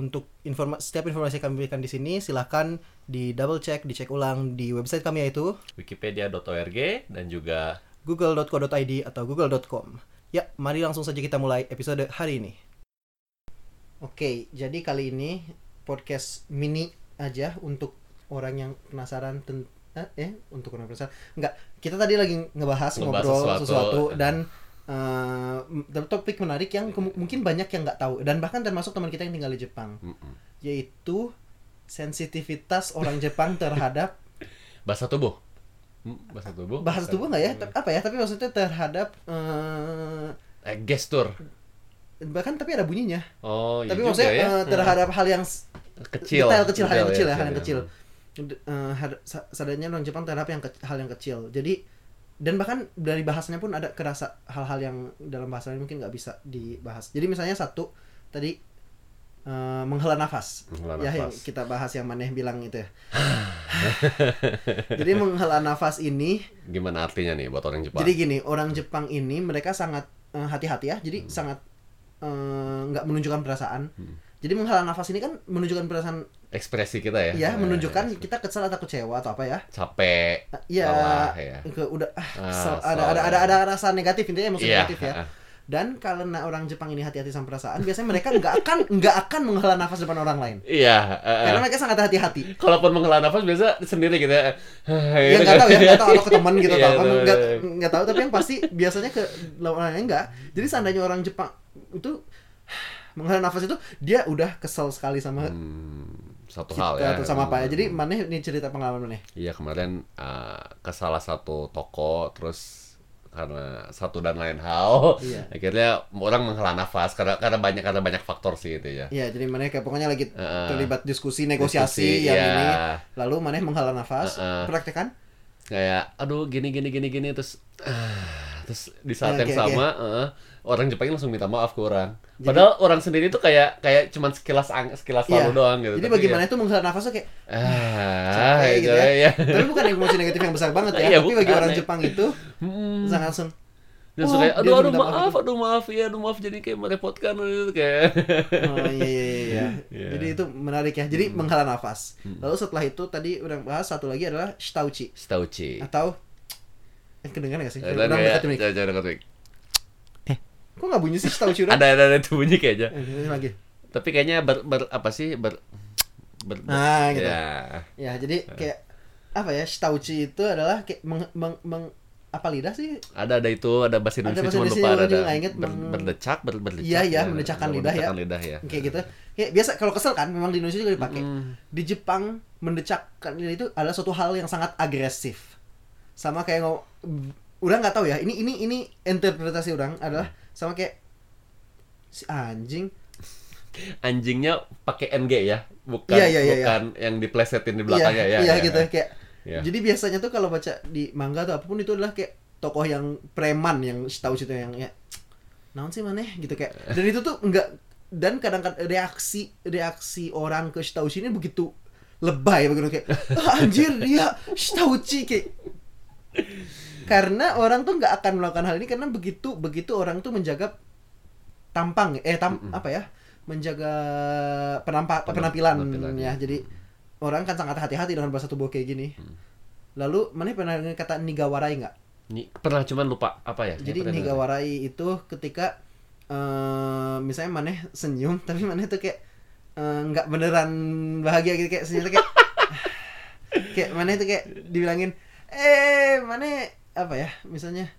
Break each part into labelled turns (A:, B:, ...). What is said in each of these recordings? A: untuk informa setiap informasi yang kami berikan di sini silahkan di double check, dicek ulang di website kami yaitu
B: Wikipedia.org dan juga
A: google.co.id atau google.com. Ya, mari langsung saja kita mulai episode hari ini. Oke, jadi kali ini podcast mini aja untuk orang yang penasaran ten- eh, eh untuk orang penasaran. Enggak, kita tadi lagi ngebahas
B: Ngebahas
A: ngobrol sesuatu,
B: sesuatu.
A: dan eh, m- topik menarik yang kemu- mungkin banyak yang nggak tahu dan bahkan termasuk teman kita yang tinggal di Jepang
B: Mm-mm.
A: yaitu sensitivitas orang Jepang terhadap
B: bahasa tubuh. Hmm, bahasa tubuh.
A: bahasa tubuh nggak ya? Tap- Apa ya? Tapi maksudnya terhadap eh,
B: Eh, gestur.
A: bahkan tapi ada bunyinya.
B: Oh, iya
A: tapi
B: juga
A: maksudnya
B: ya.
A: eh, terhadap hal yang s-
B: Hmm. kecil.
A: detail kecil, hal yang kecil ya, hal yang kecil. D- eh, had- sa- sadarnya orang Jepang terhadap yang ke- hal yang kecil. Jadi dan bahkan dari bahasanya pun ada kerasa hal-hal yang dalam bahasa lain mungkin nggak bisa dibahas. Jadi misalnya satu tadi eh, menghela nafas.
B: Menghela
A: ya yang
B: nafas.
A: kita bahas yang maneh bilang itu ya. Jadi menghela nafas ini
B: Gimana artinya nih buat orang Jepang?
A: Jadi gini, orang Jepang ini mereka sangat eh, hati-hati ya.
B: Hmm.
A: Jadi sangat eh, nggak menunjukkan perasaan. Jadi menghela nafas ini kan menunjukkan perasaan
B: ekspresi kita ya.
A: ya,
B: Eh,
A: menunjukkan kita kesal atau kecewa atau apa ya.
B: capek.
A: Eh, Iya.
B: Lelah, ya.
A: ke- udah ah,
B: Ah,
A: kesel. ada,
B: kesel,
A: ada
B: ya.
A: ada ada rasa negatif intinya emosi
B: Iya,
A: negatif ya.
B: ah.
A: Dan karena orang Jepang ini hati-hati sama perasaan, biasanya mereka nggak akan nggak akan menghela nafas depan orang lain.
B: Iya, eh, eh.
A: Karena mereka sangat hati-hati.
B: Kalaupun menghela nafas biasa sendiri gitu ya.
A: ya nggak tahu ya nggak tahu atau ke teman gitu
B: Iya,
A: atau apa
B: tahu,
A: nggak
B: tahu.
A: nggak tahu tapi yang pasti biasanya ke lawanannya enggak jadi seandainya orang Jepang itu menghela nafas itu dia udah kesel sekali sama
B: Hmm, satu hal
A: kita
B: ya.
A: atau sama apa ya
B: Hmm.
A: jadi mana ini cerita pengalaman maneh
B: Iya kemarin eh, ke salah satu toko terus karena satu dan lain hal
A: Iya.
B: akhirnya orang menghela nafas karena karena banyak karena banyak faktor sih itu ya.
A: Iya, jadi maneh kayak pokoknya lagi
B: Heeh.
A: terlibat diskusi negosiasi
B: Eh, Diskusi,
A: yang
B: iya. Eh,
A: ini lalu maneh menghela nafas
B: Heeh.
A: praktekan
B: Kayak aduh gini gini gini gini terus ah, terus di saat
A: Oke,
B: yang
A: oke.
B: sama eh, orang Jepang langsung minta maaf ke orang. Padahal orang sendiri tuh kayak kayak cuman sekilas ang sekilas
A: Iya.
B: lalu doang gitu.
A: jadi
B: Tapi
A: bagaimana
B: ya,
A: itu menghela nafas tuh kayak
B: Ah,
A: capek gitu
B: gitu
A: ya.
B: ya.
A: tapi bukan emosi negatif yang besar banget ya
B: Iya,
A: tapi bagi
B: bukan,
A: orang
B: ya.
A: Jepang itu
B: Hmm.
A: sangat langsung Oh,
B: Dan suka,
A: dia
B: aduh aduh
A: minta maaf
B: maaf, aduh maaf, iya aduh maaf jadi kayak merepotkan gitu kayak.
A: Oh iya iya iya, iya.
B: Iya. Hmm.
A: Jadi itu menarik ya. Jadi menghela nafas. Lalu setelah itu tadi udah bahas satu lagi adalah stauchi
B: Stauci.
A: atau eh, kedengaran gak sih?
B: Dan
A: Kurang
B: kayak
A: dekat mic.
B: jangan dekat mic.
A: Kok gak bunyi sih stauchi udah?
B: Ada ada ada tuh bunyi kayaknya.
A: Eh, ini lagi.
B: Tapi kayaknya ber, ber apa sih ber, ber, ber-
A: Nah, gitu.
B: Ya.
A: Ya, jadi kayak apa ya? Stauchi itu adalah kayak meng, meng, meng- apa lidah sih?
B: Ada ada itu ada bahasa Indonesia
A: bahasa
B: cuma
A: Indonesia
B: lupa ada.
A: yang
B: ada
A: nggak inget,
B: ber,
A: meng-
B: berdecak ber, berdecak.
A: Iya, iya,
B: ya,
A: mendecakkan lidah ya.
B: mendecakkan lidah ya.
A: Kayak gitu. Kayak biasa kalau kesel kan memang di Indonesia juga dipakai. Di Jepang mendecakkan lidah itu adalah suatu hal yang sangat agresif. Sama kayak ngomong udah nggak tahu ya. Ini ini ini interpretasi orang adalah sama kayak si anjing
B: Anjingnya pakai NG ya, bukan
A: Iya, iya, iya,
B: bukan yang diplesetin di belakangnya
A: iya,
B: ya.
A: Iya gitu kayak.
B: Iya.
A: Jadi biasanya tuh kalau baca di manga atau apapun itu adalah kayak tokoh yang preman yang tahu situ yang ya naon sih maneh gitu kayak. Dan itu tuh enggak dan kadang-kadang reaksi reaksi orang ke Shitauchi ini begitu lebay begitu kayak "Ah, anjir dia Shitauchi kayak karena orang tuh nggak akan melakukan hal ini karena begitu begitu orang tuh menjaga tampang eh tam apa ya menjaga penampak
B: Penam-
A: penampilan,
B: penampilan,
A: ya
B: ya.
A: jadi orang kan sangat hati-hati dengan bahasa tubuh kayak gini
B: Mm.
A: lalu mana pernah dengar kata nigawarai nggak
B: Ni- Pernah cuman lupa apa ya?
A: jadi
B: Pernah-
A: nigawarai itu ketika eh misalnya maneh senyum tapi maneh tuh kayak eh, nggak beneran bahagia gitu kayak senyum tuh kayak kayak maneh tuh kayak dibilangin eh maneh apa ya misalnya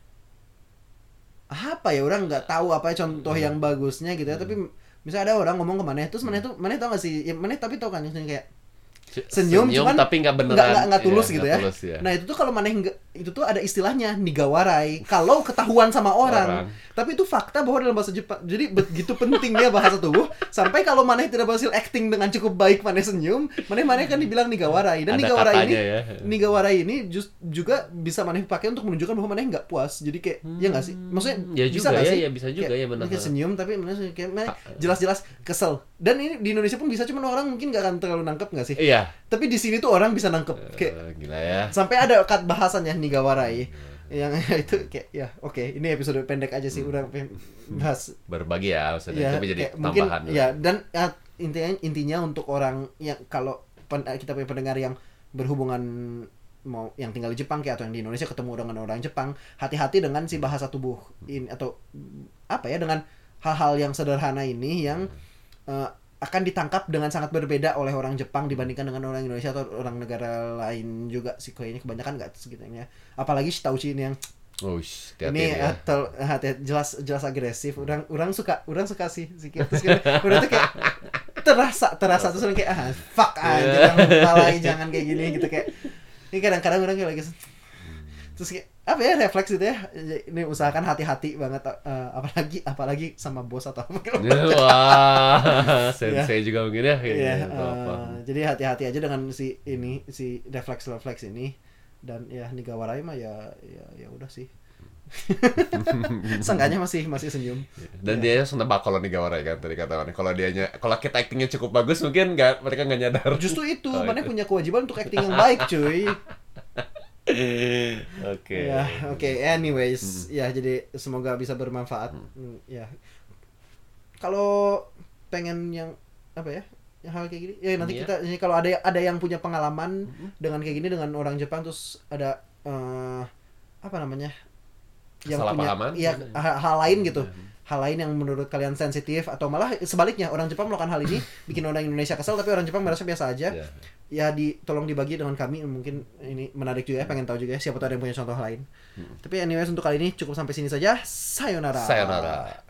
A: apa ya orang nggak tahu apa ya contoh yang bagusnya gitu ya tapi misalnya ada orang ngomong ke maneh terus maneh tuh maneh tau gak sih ya, maneh tapi tau kan yang kayak
B: Se-
A: senyum, cuman
B: tapi nggak beneran.
A: nggak- nggak- nggak tulus
B: Iya,
A: gitu
B: nggak
A: ya.
B: tulus, ya.
A: Nah itu tuh kalau maneh nggak itu tuh ada istilahnya nigawarai kalau ketahuan sama orang.
B: Orang.
A: Tapi itu fakta bahwa dalam bahasa Jepang. Jadi begitu pentingnya bahasa tubuh sampai kalau maneh tidak berhasil acting dengan cukup baik maneh senyum, maneh maneh kan dibilang nigawarai dan
B: Ada
A: nigawarai ini
B: katanya ya.
A: nigawarai ini just juga bisa maneh pakai untuk menunjukkan bahwa maneh nggak puas. Jadi kayak ya nggak sih? Maksudnya
B: Ya
A: bisa
B: juga
A: nggak
B: ya,
A: sih?
B: ya bisa juga
A: Kayak
B: ya, benar. Ah.
A: maneh senyum tapi maneh kayak maneh jelas-jelas kesel. Dan ini di Indonesia pun bisa cuman orang mungkin nggak akan terlalu nangkep nggak sih?
B: Iya.
A: Tapi di sini tuh orang bisa nangkep kayak
B: Eh, Gila ya.
A: sampai ada kat bahasannya nigawarai yang itu kayak ya oke ini episode pendek aja sih udah pe- bahas
B: Berbagi ya
A: ya
B: maksudnya. Tapi jadi
A: kayak mungkin
B: tambahan.
A: ya dan ya, intinya intinya untuk orang yang kalau pen- eh, kita punya pendengar yang berhubungan mau yang tinggal di Jepang kayak atau yang di Indonesia ketemu dengan orang Jepang hati-hati dengan si bahasa tubuh ini atau mm, apa ya dengan hal-hal yang sederhana ini yang
B: Hmm.
A: eh, akan ditangkap dengan sangat berbeda oleh orang Jepang dibandingkan dengan orang Indonesia atau orang negara lain juga sih kayaknya kebanyakan nggak segitunya apalagi si Tauci ini yang
B: Ush,
A: ini eh, ah.
B: hati-hati ya.
A: atau hati jelas jelas agresif orang orang suka orang suka sih sih kayak- terus kayak- orang tuh kayak terasa terasa terus orang kayak ah fuck
B: Iya.
A: aja jangan jangan kayak gini gitu kayak ini kadang-kadang orang kayak lagi terus kayak apa ya refleks gitu ya ini usahakan hati-hati banget eh, apalagi apalagi sama bos atau apa gitu
B: Wah, sensei juga mungkin ya. Iya.
A: Iya,
B: atau apa.
A: eh, jadi hati-hati aja dengan si ini si refleks-refleks ini dan ya Nigawarai mah ya ya ya udah sih. Seenggaknya masih masih senyum. Iya.
B: Dan dia langsung nebak kalau nih Gawara kan tadi kata Wani. Kalau dianya, kalau kita actingnya cukup bagus mungkin nggak mereka nggak nyadar.
A: Justru itu,
B: Oh,
A: mana
B: itu.
A: punya kewajiban untuk acting yang baik, cuy.
B: Oke.
A: Ya, oke. Anyways, ya jadi semoga bisa bermanfaat. Hmm, Ya. Kalau pengen yang apa ya? yang hal kayak gini. Ya nanti
B: Iya. Hmm.
A: kita ini kalau ada ada yang punya pengalaman dengan kayak gini dengan orang Jepang terus ada eh, apa namanya?
B: Kesalahpahaman?
A: Iya,
B: Hmm.
A: hal, hal lain gitu. Hal lain yang menurut kalian sensitif atau malah sebaliknya orang Jepang melakukan hal ini bikin orang Indonesia kesel tapi orang Jepang merasa biasa aja
B: Ya.
A: ya di tolong dibagi dengan kami mungkin ini menarik juga ya pengen tahu juga ya siapa tahu ada yang punya contoh lain tapi anyways untuk kali ini cukup sampai sini saja sayonara
B: Sayonara.